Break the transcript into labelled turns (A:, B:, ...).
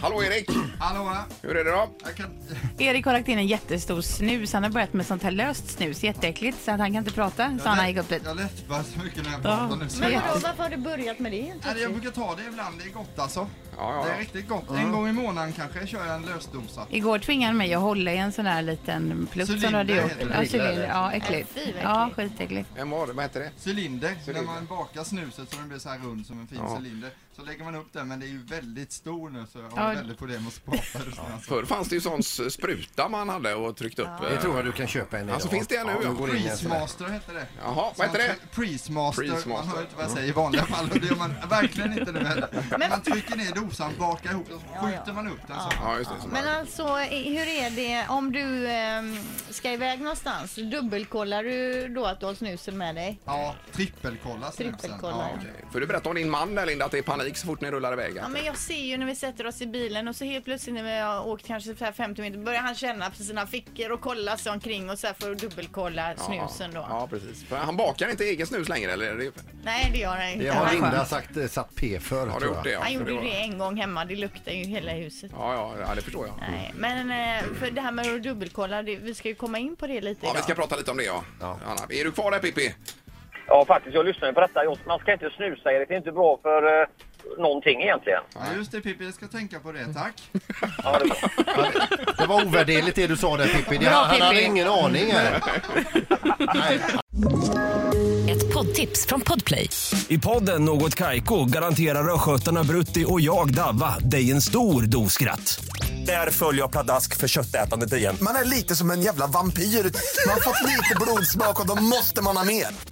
A: Hallå Erik!
B: Hallå,
A: Hur är det då?
B: jag kan...
C: Erik har lagt in en jättestor snus. Han har börjat med sånt här löst snus. Jätteäckligt så att han kan inte prata. Så han har gick upp ett...
B: Jag läspar så mycket när jag pratar nu. så
C: men
D: Men
B: jag-
C: Ja.
D: vadå, varför har du börjat med det? helt
B: Nej, jag
D: plötsligt?
B: brukar ta det ibland, det är gott alltså.
A: Ja, Mm.
B: Det
A: ja,
B: är riktigt gott. En gång i månaden kanske kör jag en lösdosa.
C: Igår tvingade han mig att hålla i en sån här liten plupp som du hade
B: Cylinder
C: gjort.
B: heter det.
C: Ja, cylinder. Ja, äckligt.
D: Nej, fy, vad
C: Ja,
D: äckligt.
C: skitäckligt.
A: ja. En var det? Vad heter det?
B: Cylinder,
A: Cylinder.
B: när man bakar snuset så den blir så här rund som en fin
A: Ja.
B: cylinder. Så lägger man upp den, men det är ju väldigt stor nu så jag har
C: Ja.
B: väldigt problem att spata just nu. Alltså.
A: Förr fanns det ju sån s- spruta man hade och tryckte upp.
E: Det
A: eh,
E: tror jag du kan köpa en idag.
A: Alltså, finns det en nu?
E: Ja, går in i en sån här.
B: Priesmaster hette det.
A: Jaha, vad heter det?
B: Priesmaster. Man
A: Priesmaster.
B: hör inte vad jag säger i vanliga fall och det gör man verkligen inte nu heller. Man trycker ner dosan, bakar ihop och så
D: Ja, ja.
B: skjuter man upp den så.
A: Ja, just det. Som
D: Men
A: här.
D: alltså, i- hur är det om du ehm, ska iväg någonstans? Dubbelkollar du då att du har snusen med dig?
B: Ja, trippelkolla snusen.
D: Trippelkolla.
B: Ja, okej.
A: Eh, Får du berätta om din man där Linda, att det är panik så fort ni rullar iväg?
F: Ja, men jag ser ju när vi sätter oss i bilen och så helt plötsligt när vi har åkt kanske så här 50 meter börjar han känna på sina fickor och kolla sig omkring och så här för att dubbelkolla snusen då.
A: Ja, ja, precis. För han bakar inte egen snus längre eller? Är det-
F: Nej, det gör han inte.
E: Det har
F: han,
E: Linda sagt, eh, satt P för
A: Har du gjort
E: tror jag.
A: det? Ja,
F: han
A: för
F: gjorde ju
A: var-
F: det en gång hemma, det luktar ju hela huset.
A: Ja, ja, ja, det förstår jag.
F: Nej, men eh, för det här med att dubbelkolla, det, vi ska ju komma in på det lite
A: Ja,
F: idag.
A: vi ska prata lite om det ja.
E: Ja.
A: Anna, är du kvar där Pippi?
G: Ja, faktiskt. Jag lyssnar ju på detta. Just, Man ska inte snusa, Erik. Det är inte bra för eh, någonting egentligen.
B: Ja, just det Pippi, jag ska tänka på det, tack.
G: Ja, det är bra.
E: Det var ovärderligt det du sa där Pippi. Det, han hade
C: Pippi.
E: ingen aning. här. Nej,
H: Ett poddtips från Podplay.
I: I podden Något Kaiko garanterar östgötarna Brutti och jag, Davva, dig en stor dos skratt. Där följer jag pladask för köttätandet igen.
J: Man är lite som en jävla vampyr. Man har fått lite blodsmak och då måste man ha mer.